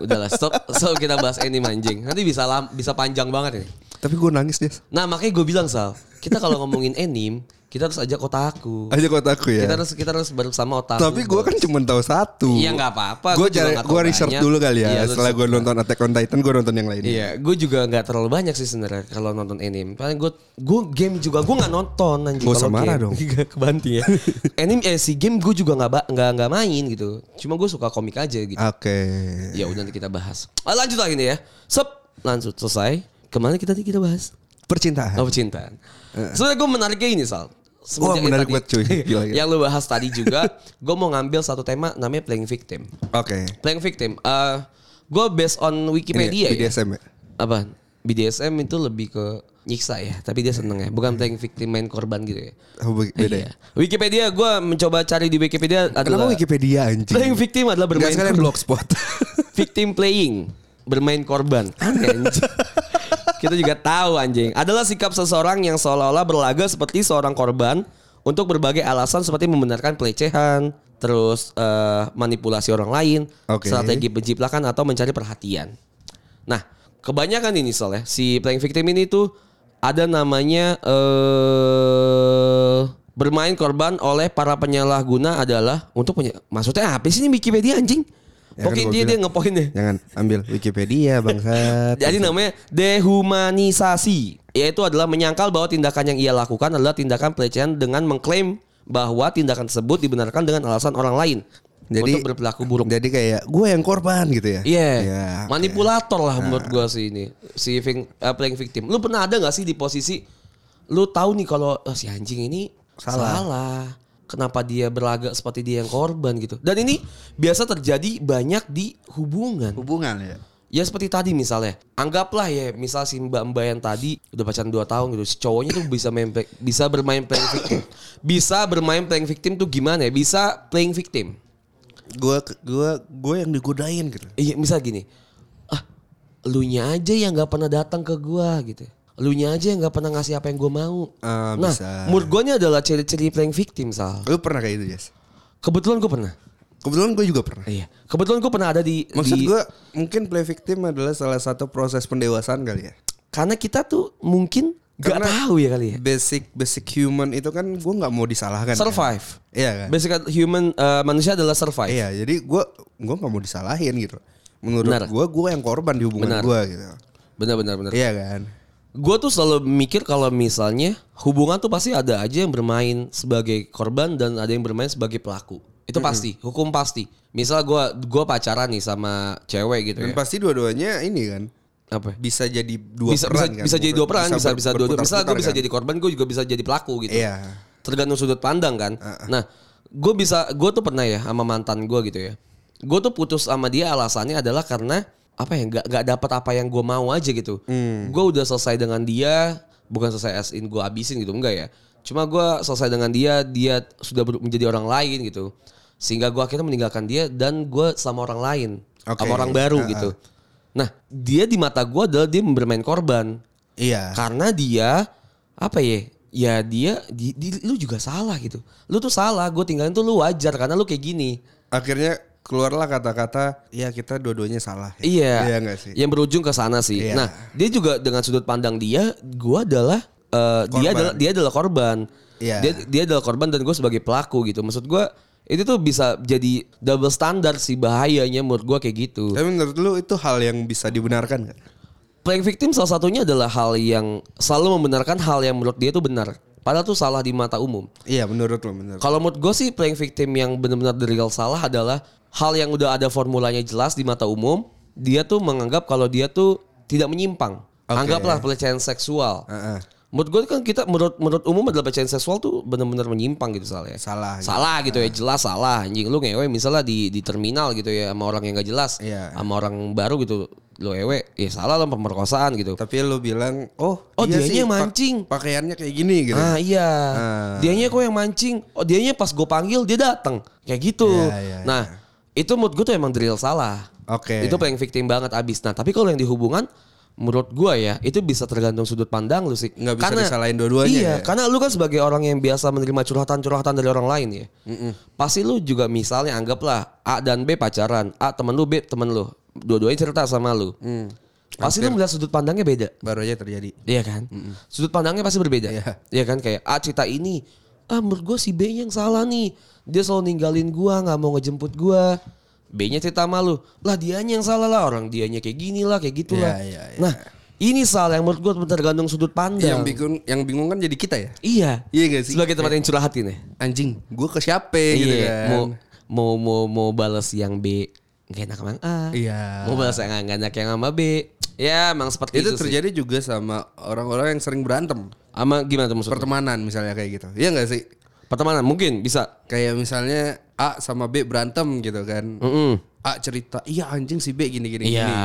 S2: Udahlah stop. So kita bahas anime anjing. Nanti bisa lam- bisa panjang banget ini.
S1: Tapi gue nangis dia.
S2: Nah makanya gue bilang Sal, kita kalau ngomongin anime, kita harus ajak otaku.
S1: Aja kota aku ya.
S2: Kita harus kita harus bersama otaku.
S1: Tapi gue kan cuma tahu satu.
S2: Iya, nggak apa-apa.
S1: Gue
S2: Gua juga nggak tahu
S1: research
S2: banyak.
S1: dulu kali
S2: Iya,
S1: ya.
S2: lu
S1: Setelah gue nonton Attack on Titan, gue nonton yang lainnya.
S2: Iya, gue juga nggak terlalu banyak sih sebenarnya kalau nonton anime. Paling gue gue game juga gue nggak nonton anjing.
S1: Nggak usah
S2: kalau
S1: marah
S2: game.
S1: dong.
S2: Nggak kebanting ya. anime eh, si game gue juga nggak ba- nggak nggak main gitu. Cuma gue suka komik aja gitu.
S1: Oke. iya.
S2: Ya udah nanti kita bahas. Ah, lanjut lagi nih ya. Sep, lanjut selesai. Kemana kita tadi kita bahas?
S1: Percintaan.
S2: Oh percintaan. Sebenarnya gue menariknya ini Sal. Semenjak
S1: Eh. Wah, menarik
S2: tadi-
S1: banget, cuy. Gila, gila.
S2: yang lu bahas tadi juga, gue mau ngambil satu tema namanya playing victim.
S1: Oke.
S2: Playing victim. Eh gue based on Wikipedia
S1: Ini
S2: ya.
S1: BDSM ya.
S2: Apa? BDSM itu lebih ke nyiksa ya, tapi dia seneng ya. Bukan playing victim main korban gitu ya.
S1: Oh, be- beda
S2: Iya.
S1: ya.
S2: Wikipedia gue mencoba cari di Wikipedia
S1: Kenapa
S2: adalah
S1: Wikipedia anjing?
S2: playing victim adalah
S1: Nggak
S2: bermain
S1: sekalian
S2: korban.
S1: blogspot.
S2: victim playing bermain korban Aneh, anjing. kita juga tahu anjing adalah sikap seseorang yang seolah-olah berlaga seperti seorang korban untuk berbagai alasan seperti membenarkan pelecehan terus eh, manipulasi orang lain
S1: Oke.
S2: strategi penjiplakan atau mencari perhatian nah kebanyakan ini soalnya si playing victim ini tuh ada namanya eh bermain korban oleh para penyalahguna adalah untuk punya maksudnya apa sih ini Wikipedia anjing
S1: Ya kan
S2: Pokoknya
S1: gua
S2: dia dia
S1: bilang. Ya,
S2: ngepoinnya.
S1: Jangan ambil Wikipedia bangsat.
S2: Jadi namanya dehumanisasi, yaitu adalah menyangkal bahwa tindakan yang ia lakukan adalah tindakan pelecehan dengan mengklaim bahwa tindakan tersebut dibenarkan dengan alasan orang lain
S1: Jadi-
S2: untuk berperilaku buruk.
S1: Jadi kayak gue yang korban gitu ya.
S2: Iya,
S1: Ya, oke.
S2: manipulator lah menurut gua sih ini si ving- eh, playing victim. Lu pernah ada nggak sih di posisi lu tahu nih kalau "Oh, si anjing ini salah. Kenapa dia berlagak seperti dia yang korban gitu? Dan ini biasa terjadi banyak di hubungan.
S1: Hubungan ya.
S2: Ya seperti tadi misalnya, anggaplah ya misal si mbak-mbak yang tadi udah pacaran 2 tahun gitu, si cowoknya tuh bisa main play- bisa bermain playing victim. Bisa bermain playing victim tuh gimana ya? Bisa playing victim.
S1: Gue gue gue yang digodain gitu.
S2: Iya, misal gini. Ah, elunya aja yang nggak pernah datang ke gua gitu. Elunya aja yang nggak pernah ngasih apa yang gua mau.
S1: Ah,
S2: nah,
S1: bisa.
S2: menurut gua ini adalah ciri-ciri playing victim, Sal.
S1: Lu pernah kayak itu, Jas?
S2: Kebetulan gua pernah.
S1: Kebetulan gue juga pernah.
S2: Iya. Kebetulan gua pernah ada di
S1: Maksud
S2: di-
S1: gue mungkin play victim adalah salah satu proses pendewasaan kali ya.
S2: karena kita tuh mungkin nggak
S1: Karena-
S2: tahu ya kali ya.
S1: Basic basic human itu kan gue nggak mau disalahkan. kan?
S2: Survive.
S1: Iya kan.
S2: Basic human eh, manusia adalah survive.
S1: Iya, jadi gue gue nggak mau disalahin gitu. Menurut
S2: Benar.
S1: gue gue yang korban di hubungan
S2: Benar.
S1: gue gitu.
S2: Benar benar benar.
S1: Iya kan.
S2: Gue tuh selalu mikir kalau misalnya hubungan tuh pasti ada aja yang bermain sebagai korban dan ada yang bermain sebagai pelaku. Itu pasti, hukum pasti. Misal gua gua pacaran nih sama cewek gitu
S1: Dan
S2: ya.
S1: pasti dua-duanya ini kan
S2: Apa? ya?
S1: bisa jadi Iya. dua
S2: Bisa
S1: peran
S2: bisa,
S1: kan.
S2: bisa jadi dua peran, bisa
S1: ber-
S2: bisa dua. dua. Misal gue bisa
S1: berputar-putar kan.
S2: jadi korban, gue juga bisa jadi pelaku gitu.
S1: Iya.
S2: tergantung sudut pandang kan. Nah, gue bisa, gue tuh pernah ya sama mantan gue gitu ya. Gue tuh putus sama dia alasannya adalah karena apa ya? Gak gak dapat apa yang gue mau aja gitu. Gue udah selesai dengan dia, bukan selesai as in gue abisin gitu enggak ya. Cuma gue selesai dengan dia, dia sudah ber- menjadi orang lain gitu. Sehingga gue akhirnya meninggalkan dia dan gue sama orang lain,
S1: Oke.
S2: sama orang baru gitu. Nah, dia di mata gue adalah dia bermain korban
S1: Iya.
S2: karena dia apa ya ya dia di, di- lu juga salah gitu lu tuh salah gue tinggalin tuh lu wajar karena lu kayak gini
S1: Akhirnya keluarlah kata-kata ya kita dua-duanya salah. ya.
S2: Iya.
S1: Iya nggak sih?
S2: Yang berujung ke sana sih.
S1: Iya.
S2: Nah, dia juga dengan sudut pandang dia, gua adalah eh, dia
S1: Korban.
S2: adalah dia adalah korban.
S1: Iya.
S2: Dia dia adalah korban dan gue sebagai pelaku gitu. Maksud gua itu tuh bisa jadi double standar sih bahayanya menurut gua kayak gitu.
S1: Tapi menurut lu itu hal yang bisa dibenarkan nggak?
S2: Playing victim salah satunya adalah hal yang selalu membenarkan hal yang menurut dia tuh benar. Padahal tuh salah di mata umum.
S1: Iya menurut lu menurut.
S2: Kalau menurut gue sih playing victim yang benar-benar the real salah adalah hal yang udah ada formulanya jelas di mata umum. Dia tuh menganggap kalau dia tuh tidak menyimpang.
S1: Oke. Eh.
S2: Anggaplah pelecehan seksual.
S1: Heeh.
S2: Menurut gue kan kita menurut menurut umum adalah pelecehan seksual tuh benar-benar menyimpang gitu salah ya.
S1: Salah, gitu.
S2: Salah gitu ya jelas salah. Anjing lu ngewe misalnya di di terminal gitu ya sama orang yang gak jelas.
S1: Iya.
S2: Sama orang baru gitu lu ewe ya salah lah pemerkosaan gitu.
S1: Tapi lu bilang oh
S2: Oh,
S1: dia
S2: dianya
S1: sih
S2: yang
S1: pak-
S2: mancing.
S1: pakaiannya kayak gini gitu.
S2: Ah iya.
S1: Ah.
S2: Dianya kok yang mancing. Oh dianya pas gue panggil dia datang. Kayak gitu.
S1: Iya, iya,
S2: nah itu menurut gue tuh emang drill salah.
S1: Oke.
S2: Itu playing victim banget abis. Nah tapi kalau yang di hubungan menurut gue ya itu bisa tergantung sudut pandang lu sih.
S1: Nggak bisa disalahin dua-duanya
S2: Iya.
S1: ya.
S2: Karena lu kan sebagai orang yang biasa menerima curhatan-curhatan dari orang lain ya. Pasti lu juga misalnya anggaplah A dan B pacaran. A temen lu, B temen lu. Dua-duanya cerita sama lu.
S1: Mm.
S2: Pasti lu melihat sudut pandangnya beda.
S1: Hmm, Baru aja terjadi.
S2: Iya kan? Sudut pandangnya pasti berbeda.
S1: Iya.
S2: Iya kan kayak ah cerita ini ah menurut gue si B yang salah nih. Dia selalu ninggalin gua, nggak mau ngejemput gua. B-nya cerita malu. Lah dianya yang salah lah, orang dianya kayak gini lah, kayak gitu lah.
S1: Iya, iya, iya.
S2: Nah, ini salah yang menurut gua tergantung sudut
S1: Yang
S2: pandang.
S1: bingung yang bingung kan jadi kita ya.
S2: iya.
S1: Iya gak sih?
S2: Sebagai tempat yang curhatin ya.
S1: Anjing, gue ke siapa gitu kan.
S2: iya, mau mau mau mau balas yang B nggak enak sama yang A.
S1: Iya.
S2: Mau balas yang A nggak enak yang sama B. Ya, emang seperti
S1: itu
S2: itu, sih.
S1: terjadi juga sama orang-orang yang sering berantem
S2: Ama gimana tuh maksudnya?
S1: pertemanan misalnya kayak gitu iya nggak sih
S2: Pertemanan mungkin bisa.
S1: kayak misalnya A sama B berantem gitu kan
S2: Mm-mm.
S1: A cerita iya anjing si B gini gini
S2: Iya,
S1: gini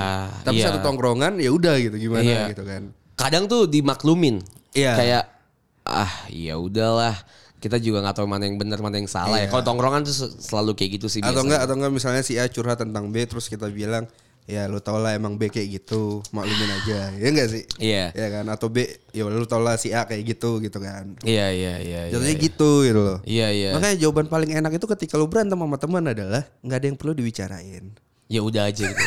S1: tapi
S2: iya.
S1: satu tongkrongan ya udah gitu gimana
S2: Iya.
S1: gitu kan
S2: kadang tuh dimaklumin.
S1: Iya.
S2: Kayak ah ya udahlah kita juga nggak tahu mana yang benar mana yang salah ya. Kalau tongkrongan tuh se- selalu kayak gitu sih.
S1: Iya. atau
S2: biasanya.
S1: enggak atau enggak misalnya si A curhat tentang B terus kita bilang ya lu tau lah emang B kayak gitu maklumin aja ya enggak sih
S2: Iya.
S1: ya kan atau B ya lu tau lah si A kayak gitu gitu kan
S2: Iya iya iya. iya.
S1: jatuhnya gitu gitu loh
S2: Iya iya.
S1: Makanya jawaban paling enak itu ketika lu berantem sama teman adalah nggak ada yang perlu dibicarain.
S2: Ya udah aja gitu.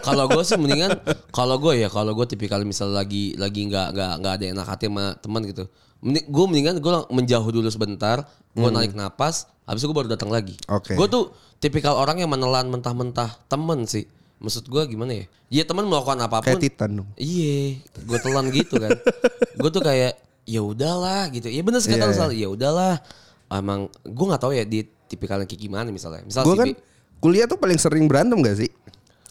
S2: kalau gue sih mendingan kalau gue ya kalau gue tipikal misal lagi lagi nggak nggak nggak ada enak hati sama teman gitu. gue mendingan gue menjauh dulu sebentar, gue narik napas, habis itu gue baru datang lagi.
S1: Hmm. Oke.
S2: Gue tuh tipikal orang yang menelan mentah-mentah temen sih. Maksud gue gimana ya? Ya teman melakukan apapun.
S1: Kayak Titan dong.
S2: Iya, gue telan gitu kan. gue tuh kayak ya udahlah gitu. Ya bener sih
S1: Iya.
S2: kata lu Sal, ya udahlah. Emang gue nggak tahu ya di tipikalnya kayak gimana misalnya. Misal
S1: Gue
S2: si
S1: kan
S2: B-
S1: kuliah tuh paling sering berantem gak sih?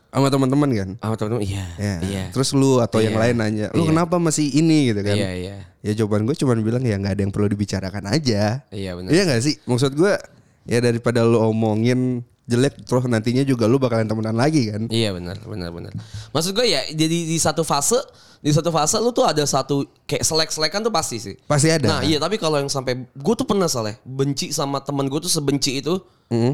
S1: Sama teman-teman kan?
S2: sama temen-temen iya,
S1: Ya.
S2: iya.
S1: Terus lu atau yang
S2: Iya.
S1: lain nanya, lu kenapa masih ini gitu kan?
S2: Iya, iya.
S1: Ya jawaban gue cuman bilang ya nggak ada yang perlu dibicarakan aja.
S2: Iya, benar.
S1: Iya gak sih? Maksud gue ya daripada lu omongin jelek terus nantinya juga lu bakalan temenan lagi kan?
S2: Iya benar, benar, benar. Maksud gue ya, jadi di satu fase, di satu fase lu tuh ada satu kayak selek-selekan tuh pasti sih.
S1: Pasti ada.
S2: Nah iya, tapi kalau yang sampai gue tuh pernah salah, ya, benci sama temen gue tuh sebenci itu,
S1: Mm-hmm.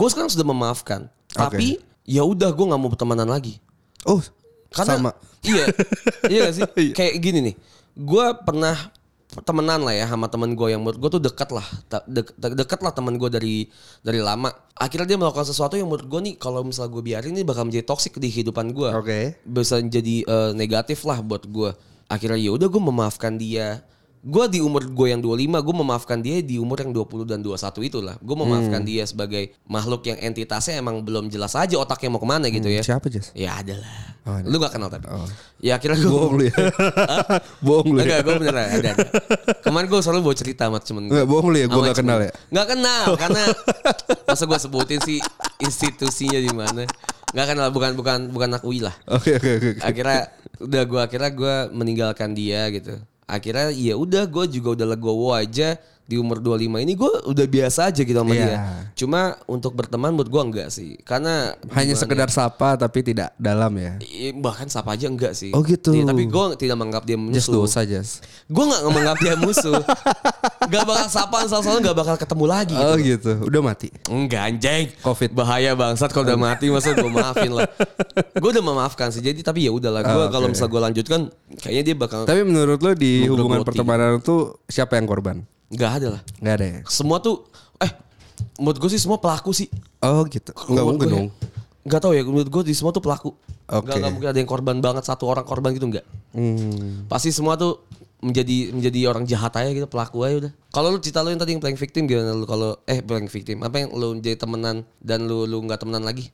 S2: gue sekarang sudah memaafkan. Tapi ya udah gue nggak mau pertemanan lagi.
S1: Oh, sama.
S2: Karena iya, iya gak sih. Kayak gini nih, gue pernah temenan lah ya sama temen gue yang menurut gue tuh dekat lah, Ta- dek- de- dekat lah temen gue dari dari lama. Akhirnya dia melakukan sesuatu yang menurut gue nih kalau misalnya gue biarin ini bakal menjadi toksik di kehidupan gue.
S1: Oke.
S2: Bisa jadi eh, negatif lah buat gue. Akhirnya ya udah gue memaafkan dia. Gue di umur gue yang 25, gue memaafkan dia di umur yang 20 dan 21 itulah. Gue
S1: Hmm.
S2: memaafkan dia sebagai makhluk yang entitasnya emang belum jelas aja otaknya mau kemana gitu ya.
S1: Siapa Jas?
S2: Ya ada lah.
S1: Oh,
S2: lu gak kenal tapi. Ya akhirnya
S1: Bohong
S2: gue.
S1: lu ya. bohong lu
S2: Enggak,
S1: ya.
S2: gue beneran ada. ada. Kemarin gue selalu bawa cerita sama temen gue.
S1: Enggak bohong lu ya, gue gak kenal ya.
S2: Gak kenal karena masa gue sebutin sih institusinya di mana. Gak kenal bukan bukan bukan anak UI lah.
S1: Oke oke oke. oke.
S2: Akhirnya udah gue akhirnya gue meninggalkan dia gitu. Akhirnya ya udah gue juga udah legowo aja di umur 25 ini gue udah biasa aja gitu sama
S1: Iya.
S2: dia. Cuma untuk berteman menurut gue enggak sih. Karena
S1: Hanya
S2: gimana-
S1: sekedar sapa tapi tidak dalam ya.
S2: I- bahkan sapa aja enggak sih.
S1: Oh, gitu.
S2: Iya, tapi gue tidak menganggap dia
S1: Just
S2: musuh.
S1: dosa just.
S2: Gue nggak menganggap dia musuh. gak bakal sapaan salah-salah gak bakal ketemu lagi.
S1: Oh gitu. Udah mati.
S2: Enggak anjing.
S1: Covid.
S2: bahaya bangsat kalau udah mati masa gue maafin lah. Gue udah memaafkan sih. Jadi tapi ya udahlah. Gue
S1: Ah, oke.
S2: kalau misal gue lanjutkan kayaknya dia bakal
S1: Tapi menurut lo di hubungan
S2: Menggerogoti.
S1: pertemanan tuh siapa yang korban?
S2: nggak ada lah.
S1: Gak ada ya?
S2: Semua tuh eh menurut gue sih semua pelaku sih.
S1: Oh gitu. Enggak mungkin dong.
S2: Gak tau ya menurut gue di semua tuh pelaku.
S1: Oke.
S2: Nggak- nggak mungkin ada yang korban banget satu orang korban gitu enggak.
S1: Hmm.
S2: Pasti semua tuh menjadi menjadi orang jahat aja gitu pelaku aja udah. Kalau lu cerita lu yang tadi yang playing victim gimana lu kalau eh playing victim apa yang lu jadi temenan dan lu lu nggak temenan lagi?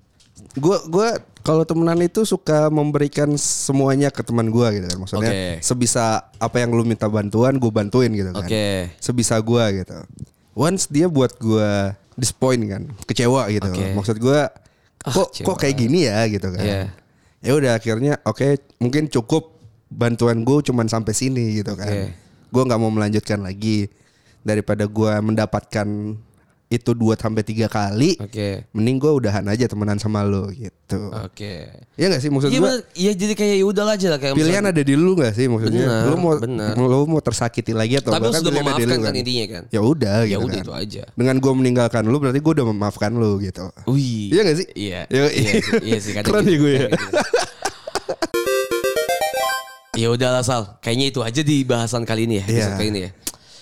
S1: Gue gua kalau temenan itu suka memberikan semuanya ke teman gua gitu kan. Maksudnya
S2: Oke.
S1: sebisa apa yang lu minta bantuan gue bantuin gitu kan.
S2: Oke.
S1: Sebisa gua gitu. Once dia buat gua disappoint kan, kecewa gitu.
S2: Oke. Ah,
S1: Maksud gua kok
S2: kecewa.
S1: kok kayak gini ya gitu kan.
S2: Iya.
S1: Ya udah akhirnya oke mungkin cukup bantuan gue cuman sampai sini gitu kan.
S2: Oke.
S1: Gue nggak mau melanjutkan lagi daripada gua mendapatkan itu dua sampai tiga kali.
S2: Oke.
S1: Mending gue udahan aja temenan sama lo gitu.
S2: Oke.
S1: Iya gak sih maksud gue
S2: Iya bener, iya jadi kayak ya udah aja lah kayak
S1: pilihan ada di lu gak sih maksudnya
S2: Benar,
S1: lu mau
S2: benar.
S1: lu mau tersakiti lagi atau
S2: Tapi lu
S1: enggak
S2: sudah
S1: pilihan ada di lu
S2: memaafkan kan
S1: kan.
S2: intinya kan.
S1: Ya udah
S2: Ya
S1: gitu
S2: udah
S1: kan.
S2: itu aja.
S1: Dengan gue meninggalkan lu berarti gue udah memaafkan lu gitu.
S2: Wih.
S1: Iya gak sih?
S2: Iya.
S1: Yo,
S2: Iya, sih, iya sih kadang
S1: Keren
S2: gitu,
S1: ya gue ya.
S2: kadang gitu. Ya udah lah Sal, kayaknya itu aja di bahasan kali ini ya, episode
S1: Iya.
S2: kali ini ya.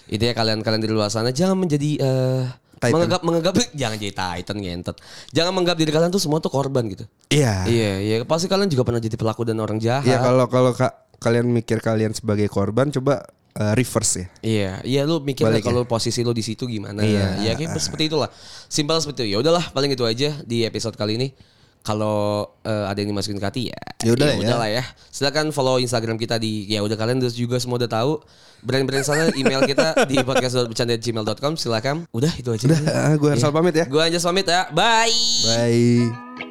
S2: Intinya kalian-kalian di luar sana jangan menjadi eh,
S1: Titan.
S2: menganggap menganggap jangan jadi titan ngentot. Jangan menganggap diri kalian tuh semua tuh korban gitu.
S1: Iya.
S2: Iya, iya pasti kalian juga pernah jadi pelaku dan orang jahat.
S1: Iya kalau kalau ka- kalian mikir kalian sebagai korban coba eh, reverse ya.
S2: Iya, iya lu mikir
S1: Balik ya?
S2: lah kalau posisi lu di situ gimana?
S1: Iya.
S2: Iya, kayak seperti itulah. Simpel seperti itu. Ya udahlah, paling itu aja di episode kali ini. Kalau eh, ada yang dimasukin ke hati ya,
S1: Ya udah ya.
S2: udahlah ya. Silakan follow Instagram kita di ya udah kalian juga semua udah tahu. Brand-brand sana email kita di podcast.bercanda@gmail.com. Silakan. Udah itu aja.
S1: Udah, gue Hansal pamit ya.
S2: Gua aja pamit ya. Bye.
S1: Bye.